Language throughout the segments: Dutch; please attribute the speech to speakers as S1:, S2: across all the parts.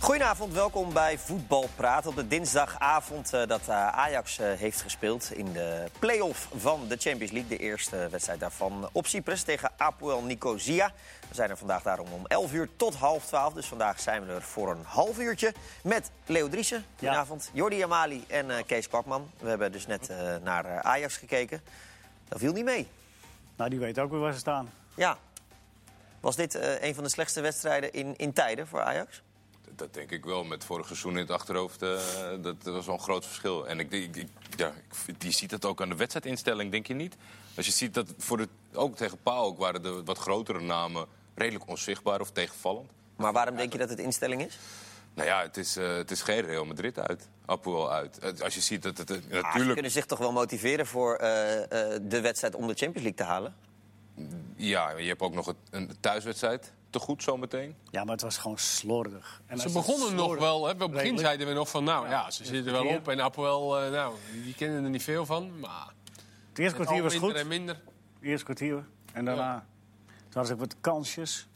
S1: Goedenavond, welkom bij Voetbal Praat. Op de dinsdagavond eh, dat eh, Ajax eh, heeft gespeeld in de play-off van de Champions League. De eerste wedstrijd daarvan op Cyprus tegen Apoel Nicosia. We zijn er vandaag daarom om 11 uur tot half 12. Dus vandaag zijn we er voor een half uurtje met Leo Driessen. Goedenavond, Jordi Amali en eh, Kees Kwakman. We hebben dus net eh, naar eh, Ajax gekeken. Dat viel niet mee.
S2: Nou, die weten ook weer waar ze staan.
S1: Ja. Was dit eh, een van de slechtste wedstrijden in, in tijden voor Ajax?
S3: Dat denk ik wel, met vorig seizoen in het achterhoofd. eh, dat was wel een groot verschil. En ik, denk- ik, ja, ik vind- je ziet dat ook aan de wedstrijdinstelling, denk je niet? Als je ziet dat voor de, ook tegen PAOK waren de wat grotere namen redelijk onzichtbaar of tegenvallend.
S1: Maar waarom denk je dat het instelling is?
S3: Nou ja, het is, eh, het is geen Real Madrid uit, Apoel uit. Het- Als je ziet dat het... eh,
S1: Ah, ze
S3: natuurlijk,
S1: kunnen zich toch wel motiveren voor eh, eh, de wedstrijd om de Champions League te halen?
S3: ja, je hebt ook nog het- een thuiswedstrijd te goed zometeen.
S2: Ja, maar het was gewoon slordig. En
S4: Ze
S2: als het
S4: begonnen nog
S2: slordig-
S4: wel. Hè? Op het begin
S2: Redelijk.
S4: zeiden we nog van, nou ja, ze zitten wel
S2: kwartier.
S4: op. En Apoel, eh, nou, die kennen er niet veel van. Maar
S2: Het eerste
S4: het
S2: kwartier was
S4: minder
S2: goed.
S4: en minder.
S2: Het eerste kwartier. En daarna. Toen hadden ze ook wat kansjes.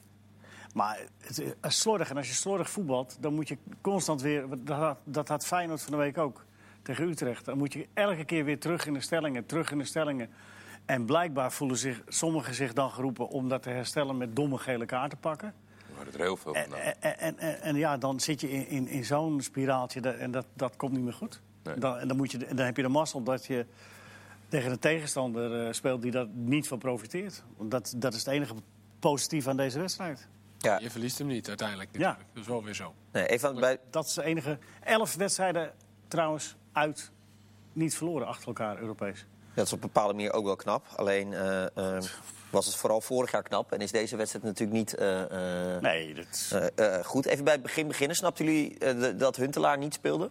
S2: Maar het eh, is slordig. En als je slordig voetbalt, dan moet je constant weer. want Dat had, dat had Feyenoord van de week ook. Tegen Utrecht. Dan moet je elke keer weer terug in de stellingen, terug in de stellingen. En blijkbaar voelen zich, sommigen zich dan geroepen om dat te herstellen met domme gele kaarten pakken.
S3: We hadden er heel veel
S1: Eh,
S3: van.
S2: En,
S3: nou.
S2: en, en, en- en ja, dan zit je in, in, in zo'n spiraaltje da- en dat, dat komt niet meer goed.
S3: Nee.
S2: Dan, en dan, moet je, de- dan heb je de mazzel dat je tegen een tegenstander eh, speelt die daar niet van profiteert. Want dat, dat is het enige positief aan deze wedstrijd.
S1: Ja.
S4: Je verliest hem niet uiteindelijk.
S2: Ja.
S4: natuurlijk. Dat is wel weer zo.
S1: Nee, even aan- bij,
S2: Dat is de enige. Elf wedstrijden trouwens uit niet verloren achter elkaar Europees.
S1: dat is op een bepaalde manier ook wel knap. Alleen eh, eh, was het vooral vorig jaar knap en is deze wedstrijd natuurlijk niet eh, eh,
S2: Nee, dat.
S1: eh, eh, goed. Even bij het begin beginnen. Snapten jullie eh, de- dat Huntelaar niet speelde?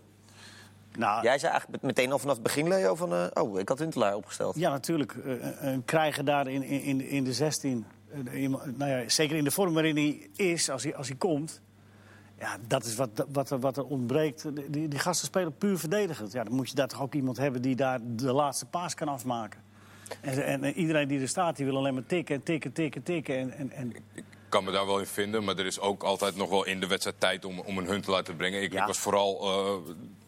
S2: Nou,
S1: Jij zei eigenlijk meteen al vanaf het begin, Leo, van... eh, oh, ik had Huntelaar opgesteld.
S2: Ja, natuurlijk. Eh, een krijgen daar in, in- in, in de 16. eh, iemand- nou ja, zeker in de vorm waarin hij is, als hij, als hij komt. Ja, dat is wat, wat, er, wat er ontbreekt. Die, die gasten spelen puur verdedigend. Ja, dan moet je daar toch ook iemand hebben die daar de laatste paas kan afmaken. En, en, en iedereen die er staat, die wil alleen maar tikken en tikken, tikken, tikken. En, en, en...
S3: Ik kan me daar wel in vinden, maar er is ook altijd nog wel in de wedstrijd tijd om, om een huntelaar te brengen. Ik,
S2: Ja.
S3: ik was vooral, eh,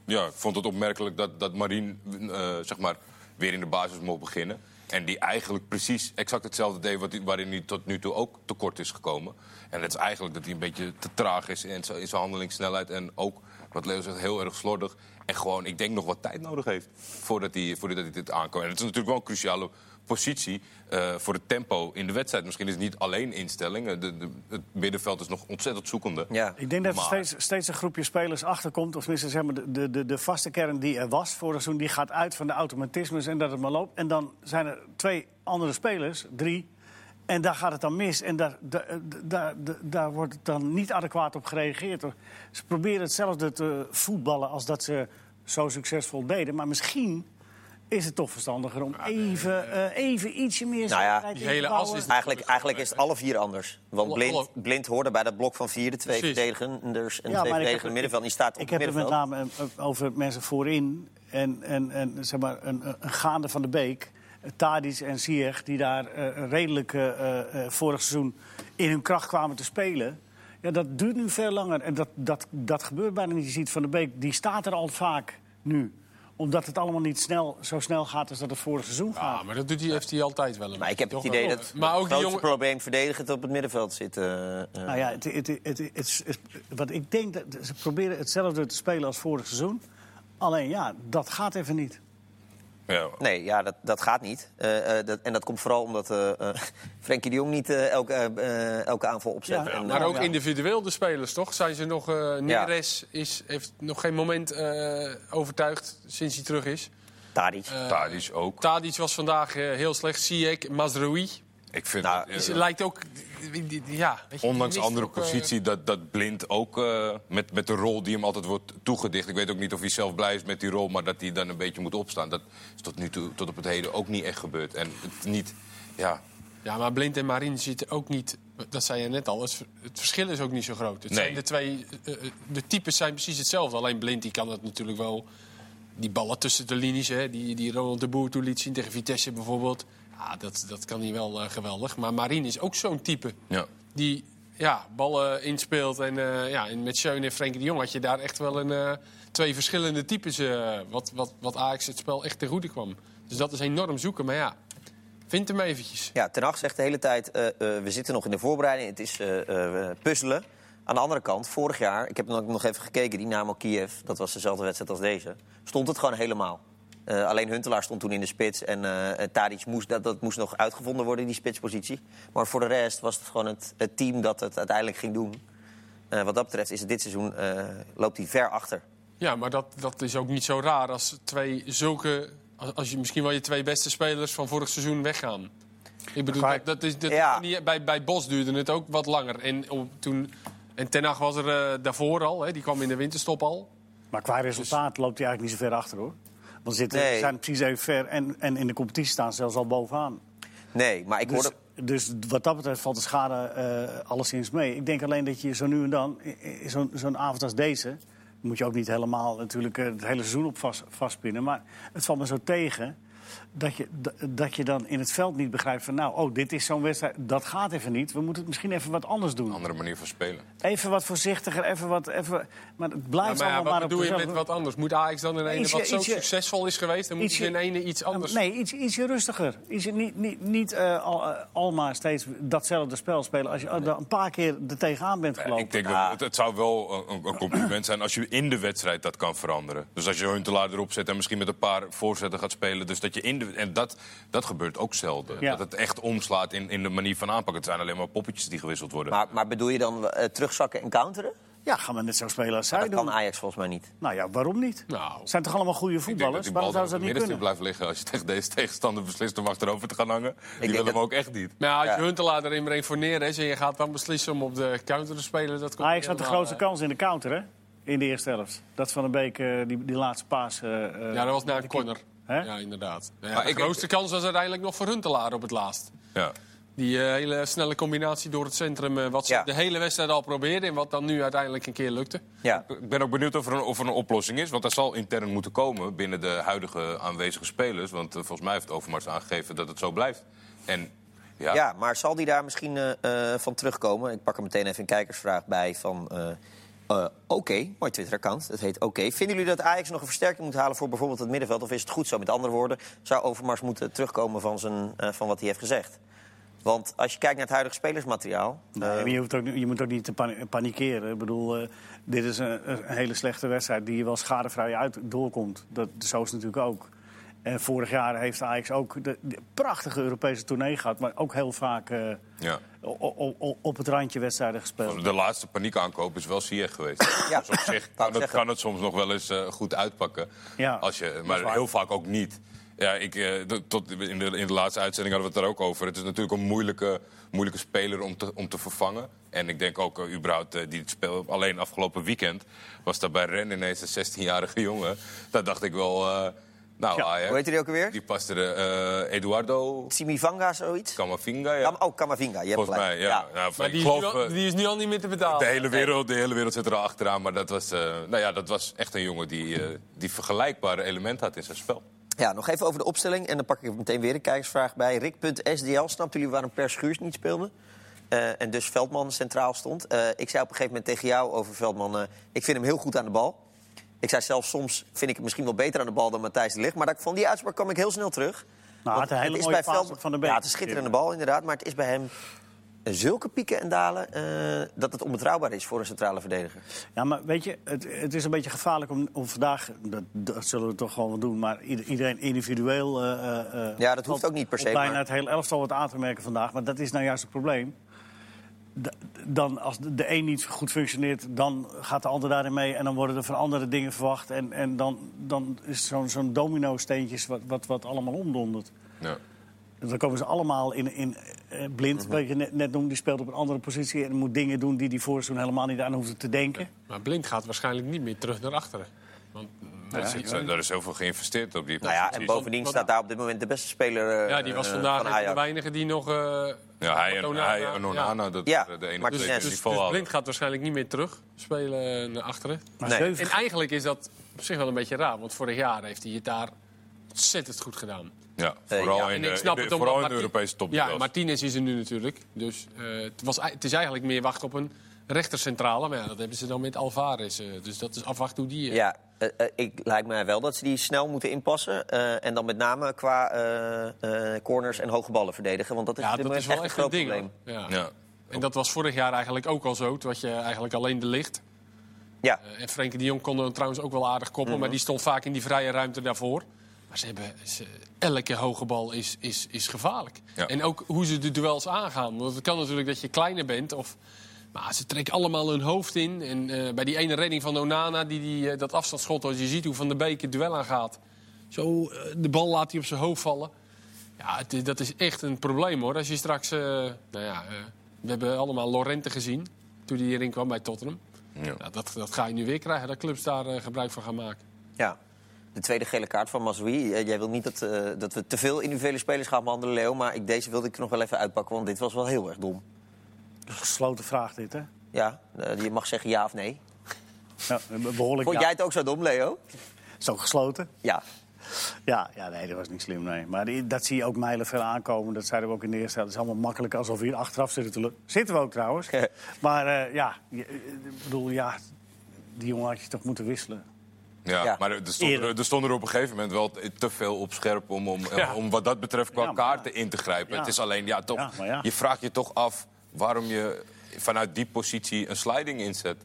S3: ja, ik vond het opmerkelijk dat, dat Marien eh, zeg maar, weer in de basis mocht beginnen. En die eigenlijk precies exact hetzelfde deed wat, hij- waarin hij tot nu toe ook tekort is gekomen. En dat is eigenlijk dat hij een beetje te traag is in zijn in zijn handelingssnelheid. En ook, wat Leo zegt, heel erg slordig. En gewoon, ik denk nog wat tijd nodig heeft voordat hij, voordat hij dit aankomt. En het is natuurlijk wel een cruciale positie eh, voor het tempo in de wedstrijd. Misschien is het niet alleen instelling. Eh, De, de- het middenveld is nog ontzettend zoekende.
S1: Ja.
S2: Ik denk dat er
S3: Maar-
S2: steeds, steeds een groepje spelers achterkomt. Of tenminste, zeg maar, de- de, de, de vaste kern die er was vorig seizoen... die gaat uit van de automatismes en dat het maar loopt. En dan zijn er twee andere spelers, drie. En daar gaat het dan mis. En daar, daar, daar, daar- daar wordt het dan niet adequaat op gereageerd. Ze proberen hetzelfde te voetballen als dat ze zo succesvol deden. Maar misschien is het toch verstandiger om even, eh, even ietsje meer...
S1: Nou ja,
S2: zekerheid
S4: die
S2: in te
S4: hele as
S2: bouwen.
S4: is-
S1: Eigenlijk, eigenlijk is het alle vier anders. Want
S4: Alle-
S1: Blind,
S4: alle-
S1: Blind hoorde bij dat blok van vier, de twee
S4: Precies.
S1: verdedigers en
S2: Ja,
S1: twee
S2: maar ik heb-
S1: verdedigende middenveld. Die staat op
S2: Ik
S1: het
S2: heb het met
S1: middenveld.
S2: name eh, over mensen voorin en, en, en zeg maar een, een- een gaande van de beek. eh, Tadic en Ziyech, die daar eh, redelijk eh, eh, eh, vorig seizoen in hun kracht kwamen te spelen. Ja, dat duurt nu veel langer. En dat, dat, dat gebeurt bijna niet. Je ziet Van de Beek, die staat er al vaak nu. Omdat het allemaal niet snel, zo snel gaat als dat het vorig seizoen gaat.
S4: Ah, maar dat doet hij, heeft hij altijd wel. Een
S1: Maar ik heb
S4: beetje,
S1: het
S4: toch
S1: idee
S4: wel.
S1: dat
S4: Maar
S1: het
S4: ook die
S1: grootste
S4: jongen...
S1: probleem verdedigend op het middenveld zit. eh, eh.
S2: Nou ja, het, het, het, het- het- het- wat ik denk, dat ze proberen hetzelfde te spelen als vorig seizoen. Alleen ja, dat gaat even niet.
S3: Ja.
S1: Nee, ja, dat, dat gaat niet. Eh, eh, dat, en dat komt vooral omdat eh, eh, Frenkie de Jong niet eh, elke, eh, eh, elke aanval opzet.
S2: Ja,
S1: En,
S4: Maar
S1: eh,
S4: ook
S2: ja.
S4: individueel de spelers, toch? Zijn ze nog... eh Neres is, heeft nog geen moment eh, overtuigd sinds hij terug is.
S1: Tadic.
S4: Eh,
S3: Tadic ook.
S4: Tadic was vandaag eh, heel slecht. Ziyech, Mazraoui.
S3: Ik vind
S1: Nou,
S3: dat, eh,
S4: Is- Lijkt ook... Ja, weet je, die
S3: ondanks
S4: mist
S3: andere
S4: ook, eh,
S3: positie dat, dat Blind ook eh, met, met de rol die hem altijd wordt toegedicht. Ik weet ook niet of hij zelf blij is met die rol, maar dat hij dan een beetje moet opstaan. Dat is tot nu toe, tot op het heden ook niet echt gebeurd. En het niet, ja,
S4: Ja, maar Blind en Marin zitten ook niet. Dat zei je net al. Het, het verschil is ook niet zo groot. Het
S3: Nee.
S4: zijn de twee. eh, eh, de types zijn precies hetzelfde. Alleen Blind die kan dat natuurlijk wel. Die ballen tussen de linies, hè, die, die Ronald de Boer toe liet zien tegen Vitesse bijvoorbeeld. Ja, dat, dat kan hij wel eh, geweldig. Maar Marin is ook zo'n type.
S3: Ja.
S4: Die ja, ballen inspeelt. En, eh, ja, en met Schöne en Frenkie de Jong had je daar echt wel een, eh, twee verschillende types... eh, wat, wat, wat Ajax het spel echt ten goede kwam. Dus dat is enorm zoeken. Maar ja, vind hem eventjes.
S1: Ja, Ten Hag zegt de hele tijd, eh, eh, we zitten nog in de voorbereiding. Het is eh, eh, puzzelen. Aan de andere kant, vorig jaar, ik heb nog- nog even gekeken, Dynamo Kiev... dat was dezelfde wedstrijd als deze, stond het gewoon helemaal. Eh, alleen Huntelaar stond toen in de spits en eh Tadic moest, dat, dat moest nog uitgevonden worden, die spitspositie. Maar voor de rest was het gewoon het, het team dat het uiteindelijk ging doen. Eh, wat dat betreft is het dit seizoen, eh, loopt hij ver achter.
S4: Ja, maar dat, dat is ook niet zo raar als twee zulke... Als, als je misschien wel je twee beste spelers van vorig seizoen weggaan. Ik bedoel,
S2: ga
S4: dat,
S2: ik-
S4: dat is, dat
S1: Ja.
S4: die- bij, bij Bos duurde het ook wat langer. En, op, toen, en Ten Hag was er eh, daarvoor al, hè, die kwam in de winterstop al.
S2: Maar qua resultaat loopt hij eigenlijk niet zo ver achter, hoor. Want ze zitten,
S1: Nee.
S2: zijn precies even ver en, en in de competitie staan ze zelfs al bovenaan.
S1: Nee, maar ik
S2: Dus,
S1: hoorde...
S2: dus wat dat betreft valt de schade eh alleszins mee. Ik denk alleen dat je zo nu en dan, eh, eh, zo'n zo'n avond als deze... moet je ook niet helemaal natuurlijk eh, het hele seizoen op vast, vastpinnen. Maar het valt me zo tegen dat je, da- dat je dan in het veld niet begrijpt van... nou, oh, dit is zo'n wedstrijd, dat gaat even niet. We moeten het misschien even wat anders doen.
S3: Een andere manier van spelen.
S2: Even wat voorzichtiger, even wat... Even, maar het
S4: Ja,
S2: blijft
S4: maar ja,
S2: allemaal
S4: wat
S2: maar op
S4: bedoel je
S2: dezelfde-
S4: met wat anders? Moet Ajax dan in ene
S2: Ietsje-
S4: wat zo
S2: ietsje-
S4: succesvol is geweest... dan moet je in
S2: ietsje- eh,
S4: ene iets anders...
S2: Nee, iets, ietsje rustiger. Ietsje, niet niet, niet eh, al, eh, almaar steeds datzelfde spel spelen. Als je eh, een paar keer er tegenaan bent gelopen.
S3: Eh, Ik denk dat
S4: Ah.
S3: het, het zou wel een, een compliment zijn als je in de wedstrijd dat kan veranderen. Dus als je Huntelaar erop zet en misschien met een paar voorzetten gaat spelen. Dus dat je in de, en dat, dat gebeurt ook zelden.
S2: Ja.
S3: Dat het echt omslaat in, in de manier van aanpak. Het zijn alleen maar poppetjes die gewisseld worden.
S1: Maar, maar bedoel je dan eh, terugzakken en counteren?
S2: Ja, gaan we net zo spelen als zij
S1: Dat
S2: doen.
S1: kan Ajax volgens mij niet.
S2: Nou ja, waarom niet?
S4: Nou.
S2: Zijn toch allemaal goede
S3: Ik denk dat
S2: voetballers?
S3: die
S2: Waarom
S3: bal
S2: zouden ze
S3: dan
S2: dat
S3: op
S2: niet
S3: het
S2: kunnen?
S3: middenstip blijft liggen als je tegen deze tegenstander beslist om achterover te gaan hangen. die
S1: denk
S3: wil hem
S1: dat-
S3: ook echt niet.
S4: Maar ja, als je
S1: Ja.
S4: Huntelaar erin brengt voor neer is... en je gaat dan beslissen om op de counter te spelen... Dat komt
S2: Ajax had de
S4: helemaal,
S2: grootste
S4: eh,
S2: kans in de counter, hè? In de eerste helft. Dat Van de Beek, eh, die, die laatste paas. eh, eh,
S4: Ja, dat was na een corner.
S2: Hè?
S4: Ja, inderdaad. Nou ja,
S3: Maar
S4: de
S3: ik-
S4: grootste kans was uiteindelijk nog voor Huntelaar op het laatst.
S3: Ja.
S4: Die eh, hele snelle combinatie door het centrum, eh, wat ze
S1: Ja.
S4: de hele wedstrijd al probeerden... en wat dan nu uiteindelijk een keer lukte.
S1: Ja.
S3: Ik ben ook benieuwd of er, een, of er een oplossing is. Want dat zal intern moeten komen binnen de huidige aanwezige spelers. Want eh, volgens mij heeft Overmars aangegeven dat het zo blijft. En ja,
S1: Ja, maar zal die daar misschien eh, eh, van terugkomen? Ik pak er meteen even een kijkersvraag bij van... eh, eh, Oké, mooi Twitter-account. Het heet Oké. Vinden jullie dat Ajax nog een versterking moet halen voor bijvoorbeeld het middenveld? Of is het goed zo? Met andere woorden, zou Overmars moeten terugkomen van, zijn, eh, van wat hij heeft gezegd? Want als je kijkt naar het huidige spelersmateriaal...
S2: Nee, maar je, hoeft ook, je moet ook niet te pan- panikeren. Ik bedoel, eh, dit is een, een hele slechte wedstrijd die je wel schadevrij uit doorkomt. Dat, zo is het natuurlijk ook. En vorig jaar heeft Ajax ook de, de prachtige Europese tournee gehad, maar ook heel vaak eh,
S3: ja.
S2: o- o- o- op het randje wedstrijden gespeeld.
S3: De laatste paniekaankoop is wel Ziyech geweest.
S1: Ja.
S3: Dus op zich
S1: Wou
S3: kan
S1: ik
S3: het,
S1: zeggen.
S3: kan het soms nog wel eens eh, goed uitpakken.
S2: Ja,
S3: Als je,
S2: is
S3: maar
S2: waar.
S3: heel vaak ook niet. Ja, ik, eh, de- tot in, de, in de laatste uitzending hadden we het daar ook over. Het is natuurlijk een moeilijke, moeilijke speler om te, om te vervangen. En ik denk ook eh, überhaupt eh, die het speel... Alleen afgelopen weekend was daar bij Ren ineens een 16-jarige jongen. Daar dacht ik wel... eh, nou,
S2: Ja,
S3: Ajax,
S1: hoe heet die ook alweer?
S3: Die paste er... eh, Eduardo
S1: Simivanga, zoiets?
S3: Camavinga, ja.
S1: Kam- oh, Kamavinga, je hebt
S3: Volgens
S1: gelijk.
S3: mij, ja. Nou,
S4: Maar
S3: ik
S4: die,
S3: geloof,
S4: is nu al,
S3: eh,
S4: die is nu al niet meer te
S1: Oh,
S4: betalen.
S3: de hele, wereld, de hele wereld zit er achteraan, maar dat was, eh, nou ja, dat was echt een jongen die, eh, die vergelijkbare elementen had in zijn spel.
S1: Ja, nog even over de opstelling. En dan pak ik meteen weer een kijkersvraag bij. Rick.sdl, snapt jullie waarom Per Schuurs niet speelde? Eh, en dus Veldman centraal stond. Eh, ik zei op een gegeven moment tegen jou over Veldman... eh, ik vind hem heel goed aan de bal. Ik zei zelfs, soms vind ik hem misschien wel beter aan de bal dan Matthijs de Ligt. Maar dat, van die uitspraak kwam ik heel snel terug.
S2: Nou,
S1: Want
S2: het hele mooie paas op Van der Beek.
S1: Ja, het is een schitterende bal inderdaad. Maar het is bij hem eh, zulke pieken en dalen... eh, dat het onbetrouwbaar is voor een centrale verdediger.
S2: Ja, maar weet je, het, het is een beetje gevaarlijk om, om vandaag, dat, dat zullen we toch gewoon wel doen, maar ieder- iedereen individueel. eh, eh, eh,
S1: Ja, dat hoeft ook niet per se,
S2: op Bijna
S1: maar-
S2: het hele elftal wat aan te merken vandaag, maar dat is nou juist het probleem. Da- Dan, als de- de een niet goed functioneert, dan gaat de ander daarin mee. En dan worden er van andere dingen verwacht. En, en dan, dan is het zo'n zo'n domino-steentjes wat, wat, wat allemaal omdondert.
S3: Ja.
S2: Dan komen ze allemaal in, in eh, blind,
S1: Mhm.
S2: wat je net, net noemde. Die speelt op een andere positie en moet dingen doen die die voor zo'n helemaal niet aan hoeft te denken.
S4: Maar Blind gaat waarschijnlijk niet meer terug naar achteren. Want, eh,
S3: Er zit- Daar is heel veel geïnvesteerd op die
S1: Nou ja, en
S3: posities.
S1: bovendien staat daar op dit moment de beste speler eh,
S4: ja, die was
S1: eh,
S4: vandaag
S1: van
S4: een van de
S1: Ajax.
S4: weinigen die nog... eh,
S3: Ja, hij en,
S4: Onana-
S3: hij en Onana, dat
S1: Ja,
S3: waren de enige
S1: maar
S3: twee
S1: dus-
S3: die
S1: dus-
S3: het
S4: Dus,
S3: niveau
S4: dus
S3: hadden.
S4: Blind gaat waarschijnlijk niet meer terug spelen eh, naar achteren.
S2: Maar
S1: Nee.
S2: zeven-
S4: En eigenlijk is dat op zich wel een beetje raar. Want vorig jaar heeft hij het daar ontzettend goed gedaan.
S3: Ja,
S1: Eh,
S3: vooral
S1: ja,
S3: in
S4: en
S3: de,
S4: ik snap
S3: in de-
S4: het ook
S3: vooral in
S4: dat
S3: de
S4: Marti-
S3: Europese top.
S4: Ja, Martinez is er nu natuurlijk. Dus eh, het, was, ei- het is eigenlijk meer wachten op een rechtercentrale. Maar ja, dat hebben ze dan met Alvarez. eh, dus dat is afwachten hoe die... eh,
S1: Ja, eh, eh, ik, lijkt mij wel dat ze die snel moeten inpassen. eh, en dan met name qua eh, eh, corners en hoge ballen verdedigen. Want dat is,
S4: ja,
S1: op dit
S4: dat
S1: moment
S4: is wel
S1: echt
S4: echt een
S1: groot
S4: ding.
S1: probleem.
S4: hoor. Ja.
S3: ja.
S4: En dat was vorig jaar eigenlijk ook al zo. Toen had je eigenlijk alleen de licht.
S1: Ja,
S4: Eh, En Frenkie de Jong kon er trouwens ook wel aardig koppelen. Maar die stond vaak in die vrije ruimte daarvoor. Maar ze hebben, ze- elke hoge bal is, is, is gevaarlijk.
S3: Ja.
S4: En ook hoe ze de duels aangaan. Want het kan natuurlijk dat je kleiner bent. Of, maar ze trekken allemaal hun hoofd in. En eh, bij die ene redding van Onana, die, die eh, dat afstandsschot... als je ziet hoe Van der Beek het duel aangaat. Zo, eh, de bal laat hij op zijn hoofd vallen. Ja, het is- dat is echt een probleem hoor. Als je straks. eh, nou ja, eh, we hebben allemaal Lorente gezien. toen hij hierin kwam bij Tottenham.
S3: Ja.
S4: Nou, dat, dat ga je nu weer krijgen, dat clubs daar eh, gebruik van gaan maken.
S1: ja. De tweede gele kaart van Mazrui. Eh, Jij wil niet dat, eh, dat we te veel individuele spelers gaan behandelen, Leo. Maar ik, deze wilde ik er nog wel even uitpakken, want dit was wel heel erg dom.
S2: Gesloten vraag dit, hè?
S1: Ja, eh, je mag zeggen ja of nee.
S2: Ja, behoorlijk.
S1: Vond
S2: Ja.
S1: jij het ook zo dom, Leo?
S2: Zo gesloten.
S1: Ja.
S2: Ja, ja, nee, dat was niet slim, nee. Maar die- dat zie je ook mijlenver aankomen. Dat zeiden we ook in de eerste helft. Het is allemaal makkelijk alsof we hier achteraf zitten te lu- Zitten we ook trouwens. maar eh, ja, je- ik bedoel, ja, die jongen had je toch moeten wisselen.
S3: Ja,
S1: Ja.
S3: maar er stonden er, er stonden er op een gegeven moment wel te- te veel op scherp om, om, eh,
S4: Ja.
S3: om wat dat betreft qua
S2: Ja, maar ja.
S3: kaarten in te grijpen.
S2: Ja.
S3: Het is alleen, ja, toch,
S2: Ja, maar ja.
S3: je vraagt je toch af waarom je vanuit die positie een sliding inzet.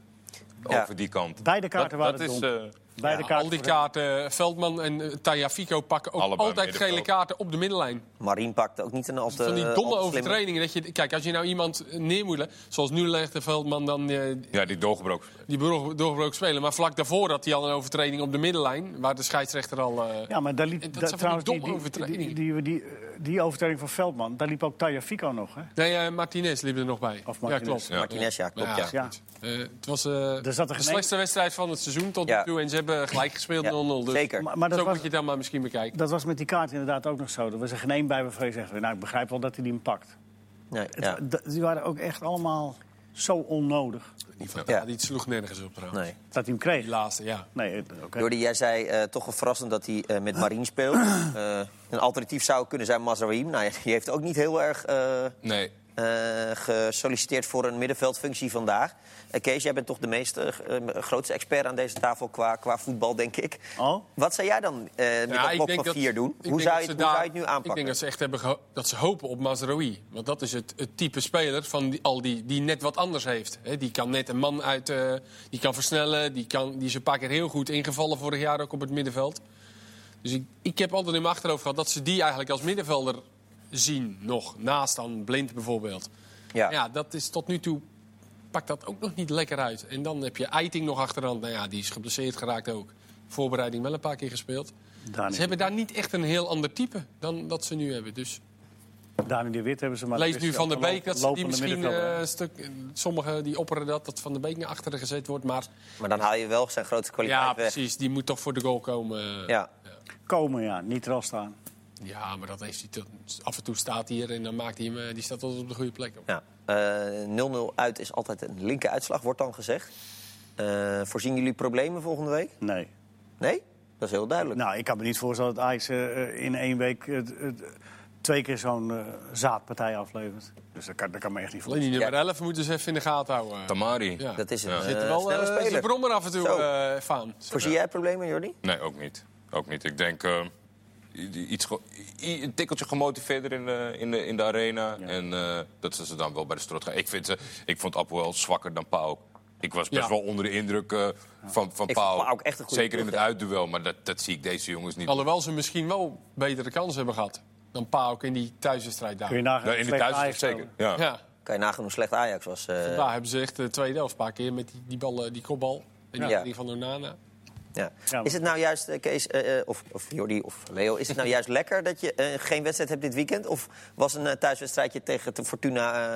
S1: Ja.
S3: Over die kant.
S2: Beide kaarten
S3: dat,
S2: waren
S3: dat
S2: dom.
S3: is, eh,
S2: Beide
S4: Ja, al
S2: kaarten
S4: die
S2: voor-
S4: kaarten, eh, Veldman en eh, Tagliafico pakken ook
S3: Allebei
S4: altijd gele
S3: middenveld.
S4: kaarten op de middenlijn.
S1: Marien pakte ook niet een al te
S4: Van die
S2: eh,
S1: al te
S4: domme
S1: slimme-
S4: overtredingen. Dat je, kijk, als je nou iemand neer moet leggen, zoals nu legde Veldman dan eh,
S3: Ja, die doorgebroken.
S4: die bro- doorgebroken spelen. Maar vlak daarvoor had hij al een overtreding op de middenlijn, waar de scheidsrechter al. eh,
S2: Ja, maar daar liep
S4: En dat
S2: daar-
S4: zijn van die
S2: trouwens die,
S4: domme
S2: die, die, die,
S4: overtredingen.
S2: die, eh, die overtreding van Veldman, daar liep ook Taya Fico nog. Hè?
S4: Nee, eh, Martinez liep er nog bij.
S2: Of Martinez.
S4: Ja, klopt.
S3: Ja.
S1: Martinez, ja, klopt, ja.
S2: Ja.
S4: goed. Eh, het was eh,
S2: Er zat er
S4: de
S2: geen
S4: slechtste wedstrijd van het seizoen tot
S1: Ja.
S4: nu toe. En ze hebben gelijk gespeeld 0-0.
S1: Ja,
S4: dus
S1: zeker.
S2: Maar, maar dat,
S4: zo
S2: was,
S4: moet je het dan maar misschien bekijken.
S2: dat was met die kaart inderdaad ook nog zo. Er was er geen één bij waarvan je zegt, nou, ik begrijp wel dat hij die hem pakt.
S1: Nee,
S2: Het-
S1: ja.
S2: d- Die waren ook echt allemaal zo onnodig
S1: Ja.
S4: Ja, die sloeg nergens op trouwens.
S1: nee.
S2: dat hij hem
S4: Die
S2: kreeg.
S4: laatste, ja.
S2: Nee, het- oké.
S1: Jordi, jij zei eh, toch wel verrassend dat hij eh, met Marien speelt. Eh, een alternatief zou kunnen zijn Mazraoui. Nou, ja, die heeft ook niet heel erg eh,
S3: Nee.
S1: eh, gesolliciteerd voor een middenveldfunctie vandaag. Eh, Kees, jij bent toch de meeste, eh, grootste expert aan deze tafel qua, qua voetbal, denk ik.
S2: Oh?
S1: Wat zou jij dan eh met
S4: Ja,
S1: dat blok van vier doen?
S4: ik
S1: Hoe
S4: denk
S1: zou,
S4: dat
S1: je, het-
S4: ze
S1: hoe
S4: daar-
S1: zou je het nu aanpakken?
S4: Ik denk dat ze echt hebben geho- dat ze hopen op Mazraoui. Want dat is het, het type speler van die, al die, die net wat anders heeft. Hè, die kan net een man uit... eh, die kan versnellen. Die, kan, die is een paar keer heel goed ingevallen vorig jaar ook op het middenveld. Dus ik, ik heb altijd in mijn achterhoofd gehad dat ze die eigenlijk als middenvelder zien nog. Naast dan Blind bijvoorbeeld.
S1: ja.
S4: Ja, dat is tot nu toe... Pakt dat ook nog niet lekker uit. En dan heb je Eiting nog achterhand. Nou ja, die is geblesseerd geraakt ook. Voorbereiding wel een paar keer gespeeld.
S2: Dani,
S4: Ze hebben daar niet echt een heel ander type dan dat ze nu hebben. Dus
S2: Dani de Wit hebben ze maar... Dus,
S4: lees nu Van der
S2: de
S4: Beek dat ze die misschien eh, een stuk. Sommigen die opperen dat, dat Van der Beek naar achteren gezet wordt. Maar
S1: Maar dan haal je wel zijn grote kwaliteit
S4: ja,
S1: weg.
S4: precies. Die moet toch voor de goal komen.
S1: Ja.
S2: Komen, ja. Niet er al staan.
S4: Ja, maar dat heeft hij tot- af en toe staat hij hier en dan maakt hij hem. eh, Die staat altijd op de goede plek.
S1: Ja. Eh, 0-0 uit is altijd een linker uitslag, wordt dan gezegd. Eh, voorzien jullie problemen volgende week?
S2: Nee.
S1: Nee? Dat is heel duidelijk.
S2: Nou, ik kan me niet voorstellen dat IJs in één week het- het- twee keer zo'n eh, zaadpartij aflevert. Dus dat kan, dat kan me echt niet
S4: Alleen
S2: voorstellen.
S4: die nummer
S1: Ja.
S4: 11 moeten ze even in de gaten houden.
S3: Tamari.
S4: Ja.
S1: dat is een
S3: Ja.
S1: eh,
S4: Zit er wel
S1: snelle
S4: eh,
S1: speler.
S4: de brommer af en toe
S1: Zo.
S4: eh van.
S1: Voorzie jij problemen, Jordi?
S3: Nee, ook niet. Ook niet. Ik denk eh, i- i- iets ge- i- een tikkeltje gemotiveerder in de, in de, in de arena. En eh, dat ze ze dan wel bij de strot gaan. Ik, vind ze, ik vond Appel wel zwakker dan Pau. Ik was best
S4: Ja.
S3: wel onder de indruk eh, van, van
S1: Ik
S3: Pau.
S1: vond Pau ook echt een goede
S3: Zeker in het
S1: ploeg,
S3: uitduel, maar dat, dat zie ik deze jongens niet.
S4: Alhoewel ze misschien wel betere kansen hebben gehad dan Pauk in die thuiswedstrijd daar.
S2: Kun je nagaan.
S3: Nou, in de
S2: slecht
S3: thuis
S2: Ajax
S3: zeker.
S2: spelen.
S3: Ja.
S4: Ja.
S1: Kan je nagaan hoe slecht Ajax was. eh,
S4: Daar hebben ze echt de tweede helft een paar keer met die, die, bal, eh, die kopbal. En die
S1: Ja.
S4: redding van Onana.
S1: ja.
S2: Ja, maar-
S1: Is het nou juist, eh, Kees, eh, eh, of, of Jordi of Leo... is het nou juist lekker dat je eh, geen wedstrijd hebt dit weekend? Of was een eh, thuiswedstrijdje tegen de Fortuna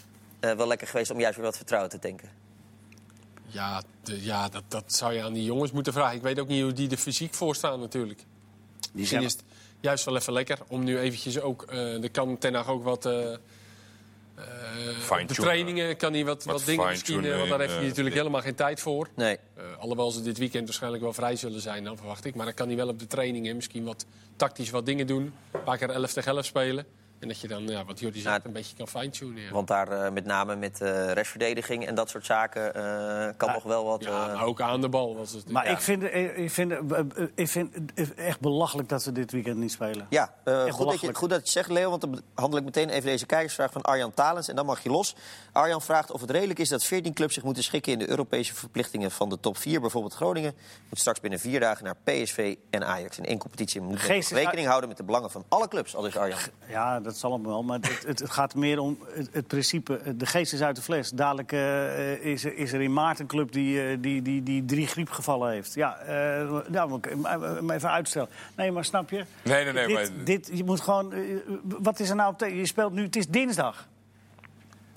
S1: eh, eh, wel lekker geweest... om juist weer wat vertrouwen te tanken?
S4: Ja, de- ja dat, dat zou je aan die jongens moeten vragen. Ik weet ook niet hoe die er fysiek voor staan natuurlijk.
S2: Die
S4: Misschien
S2: zijn
S4: is het juist wel even lekker om nu eventjes ook... eh er kan Ten Hag ook wat... eh, eh, op de
S3: Fine-tunen.
S4: trainingen kan hij wat, wat,
S3: Wat
S4: dingen misschien... eh,
S3: fine-tunen
S4: want daar
S3: in,
S4: heeft hij
S3: eh,
S4: natuurlijk
S3: dit.
S4: helemaal geen tijd voor.
S1: Nee.
S4: Eh, alhoewel ze dit weekend waarschijnlijk wel vrij zullen zijn, dan verwacht ik. Maar dan kan hij wel op de trainingen misschien wat tactisch wat dingen doen. Een paar keer 11 tegen 11 spelen. En dat je dan, ja, wat Jordi zegt,
S1: Nou,
S4: een beetje kan fine-tunen. Ja.
S1: Want daar eh, met name met eh restverdediging en dat soort zaken eh, kan nog wel wat...
S4: Ja, nou,
S1: eh,
S4: maar ook aan de bal was het.
S2: Maar
S4: Ja.
S2: ik, vind, eh, ik, vind, eh, eh, ik vind het echt belachelijk dat ze dit weekend niet spelen.
S1: Ja, eh, goed, dat je,
S2: belachelijk.
S1: goed dat je het zegt, Leo. Want dan handel ik meteen even deze kijkersvraag van Arjan Talens. En dan mag je los. Arjan vraagt of het redelijk is dat 14 clubs zich moeten schikken... in de Europese verplichtingen van de top 4. Bijvoorbeeld Groningen moet straks binnen vier dagen naar PSV en Ajax. In één competitie moet men
S2: Geest is-
S1: rekening houden met de belangen van alle clubs. Al dus Arjan.
S2: Ja, dat zal allemaal wel. Maar het, het, het gaat meer om het, het principe. De geest is uit de fles. Dadelijk eh, is, er, is er in maart een club die, eh, die, die, die drie griepgevallen heeft. Ja, eh nou, moet ik hem- hem even uitstellen. Nee, maar snap je?
S3: Nee, nee, nee,
S2: Dit,
S3: maar-
S2: dit, je moet gewoon... eh, wat is er nou op tegen? Je speelt nu... Het is dinsdag.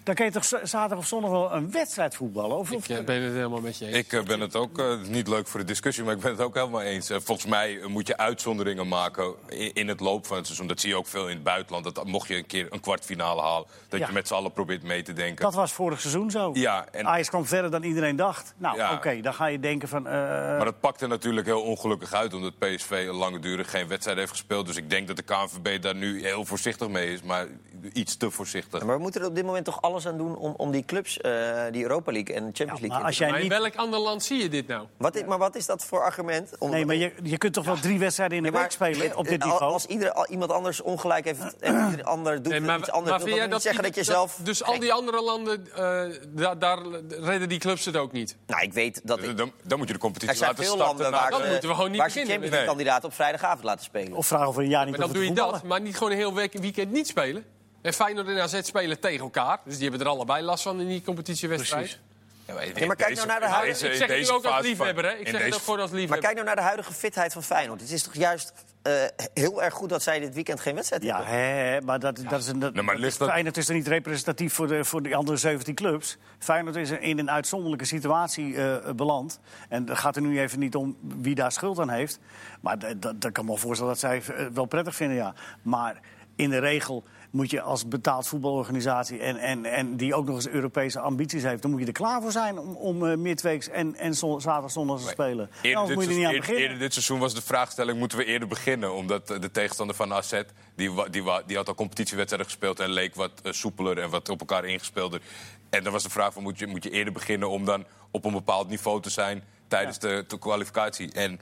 S2: Dan kan je toch z- zaterdag of zondag wel een wedstrijd voetballen? Of, of-
S4: Ik eh, ben het helemaal met je eens.
S3: Ik eh, ben het ook eh, niet leuk voor de discussie, maar ik ben het ook helemaal eens. Eh, volgens mij eh, moet je uitzonderingen maken in, in het loop van het seizoen. Dat zie je ook veel in het buitenland. Dat mocht je een keer een kwartfinale halen, dat
S2: Ja.
S3: je met z'n allen probeert mee te denken.
S2: dat was vorig seizoen zo.
S3: Ja, en-
S2: Ajax kwam verder dan iedereen dacht. Nou,
S3: Ja.
S2: oké, dan ga je denken van... eh,
S3: Maar dat pakte natuurlijk heel ongelukkig uit, omdat PSV langdurig geen wedstrijd heeft gespeeld. Dus ik denk dat de KNVB daar nu heel voorzichtig mee is, maar iets te voorzichtig.
S1: Maar we moeten er op dit moment toch alles aan doen... om, om die clubs, eh, die Europa League en Champions League...
S2: maar
S1: in te
S2: als jij
S4: maar in
S2: niet
S4: welk ander land zie je dit nou?
S1: Wat is, maar wat is dat voor argument? Om-
S2: Nee, maar je, je kunt toch wel drie wedstrijden in de
S1: Nee, maar
S2: week spelen op dit
S1: al-
S2: niveau?
S1: Als ieder, al- iemand anders ongelijk heeft en ieder ander doet
S4: Nee,
S1: iets anders... wil
S4: vind jij
S1: dat niet zeggen dat je
S4: die-
S1: zelf...
S4: Dus al die andere landen, eh, da- daar redden die clubs het ook niet.
S1: Nou, ik weet dat...
S3: Eh,
S1: ik-
S3: Dan, dan moet je de
S1: Er
S3: competitie
S1: zijn
S3: laten
S1: veel
S3: starten.
S1: landen waar,
S3: na de-
S4: Dan moeten we gewoon niet
S1: waar ze
S4: beginnen.
S1: Champions League kandidaten op vrijdagavond laten spelen.
S2: Of vragen of we een jaar niet
S4: Maar dan
S2: over
S4: doe je
S2: te
S4: dat,
S2: voetballen?
S4: maar niet gewoon een heel week- weekend niet spelen. En Feyenoord en AZ spelen tegen elkaar. Dus die hebben er allebei last van in die competitiewedstrijd.
S3: Ja, maar,
S1: maar kijk nou naar de huidige-
S4: Ik zeg het nu ook als liefhebber, hè? Ik zeg het ook voor als
S1: maar
S4: liefhebber.
S1: kijk nou naar de huidige fitheid van Feyenoord. Het is toch juist eh, heel erg goed dat zij dit weekend geen wedstrijd
S2: Ja,
S1: hebben.
S2: hè, hè, maar dat, dat is een. Dat,
S3: Nee, maar
S2: dat
S3: ligt
S2: is-
S3: dat-
S2: Feyenoord is er niet representatief voor de, voor de andere 17 clubs. Feyenoord is er in een uitzonderlijke situatie eh, beland. En het gaat er nu even niet om wie daar schuld aan heeft. Maar d- dat- dat kan ik me voorstellen dat zij eh, wel prettig vinden, ja. Maar in de regel moet je als betaald voetbalorganisatie... En, en, en die ook nog eens Europese ambities heeft... dan moet je er klaar voor zijn om, om eh, midweeks en, en zon- zaterdag zondag te spelen.
S3: Eerder
S2: Anders moet
S3: dit,
S2: je er
S3: seizoen-
S2: niet aan
S3: eer-
S2: beginnen.
S3: eerder dit seizoen was de vraagstelling: moeten we eerder beginnen? Omdat eh, de tegenstander van AZ, die, wa- die, wa- die had al competitiewedstrijden gespeeld en leek wat eh, soepeler en wat op elkaar ingespeelder. En dan was de vraag: van, moet, je, moet je eerder beginnen om dan op een bepaald niveau te zijn tijdens de, de kwalificatie? En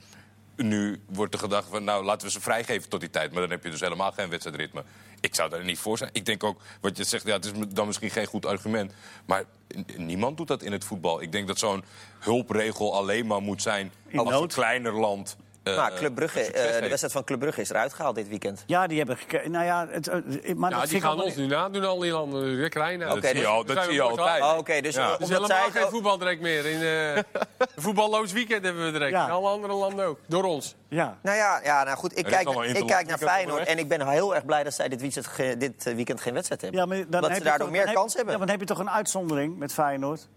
S3: nu wordt er gedacht: van, nou laten we ze vrijgeven tot die tijd. Maar dan heb je dus helemaal geen wedstrijdritme. Ik zou daar niet voor zijn. Ik denk ook, wat je zegt, ja, het is m- dan misschien geen goed argument. Maar n- niemand doet dat in het voetbal. Ik denk dat zo'n hulpregel alleen maar moet zijn als een
S2: nood.
S3: kleiner land. eh,
S1: Maar Club Brugge,
S3: succes
S1: eh, de
S3: heeft.
S1: wedstrijd van Club Brugge is eruit gehaald dit weekend.
S2: Ja, die hebben gekeken. Nou ja, het, eh, maar
S4: Ja,
S2: dat
S4: Nou, die
S2: vind ik
S4: gaan
S2: allemaal-
S4: ons nu nadoen, al die landen. Rick Reina.
S1: Oké,
S2: dus
S3: zie je al- dat zie je altijd.
S1: Oh, Oké, dus
S3: Ja.
S1: eh,
S4: Het is
S1: omdat zij...
S4: helemaal geen voetbaldrek meer. In, eh, een voetballoos weekend hebben we direct.
S2: Ja.
S4: In alle andere landen ook. Door ons.
S2: Ja.
S1: Nou ja, ja nou goed, ik
S3: is
S1: kijk,
S3: allemaal
S1: ik
S3: interland.
S1: kijk naar
S3: Ik heb het
S1: Feyenoord en
S3: onderweg.
S1: ik ben heel erg blij dat zij dit weekend, ge- dit eh, weekend geen wedstrijd hebben.
S2: Ja, maar dan
S1: dat
S2: heb
S1: ze
S2: je
S1: daardoor
S2: toch-
S1: meer
S2: dan
S1: kans
S2: heb,
S1: hebben.
S2: Ja, maar dan heb je toch een uitzondering met Feyenoord?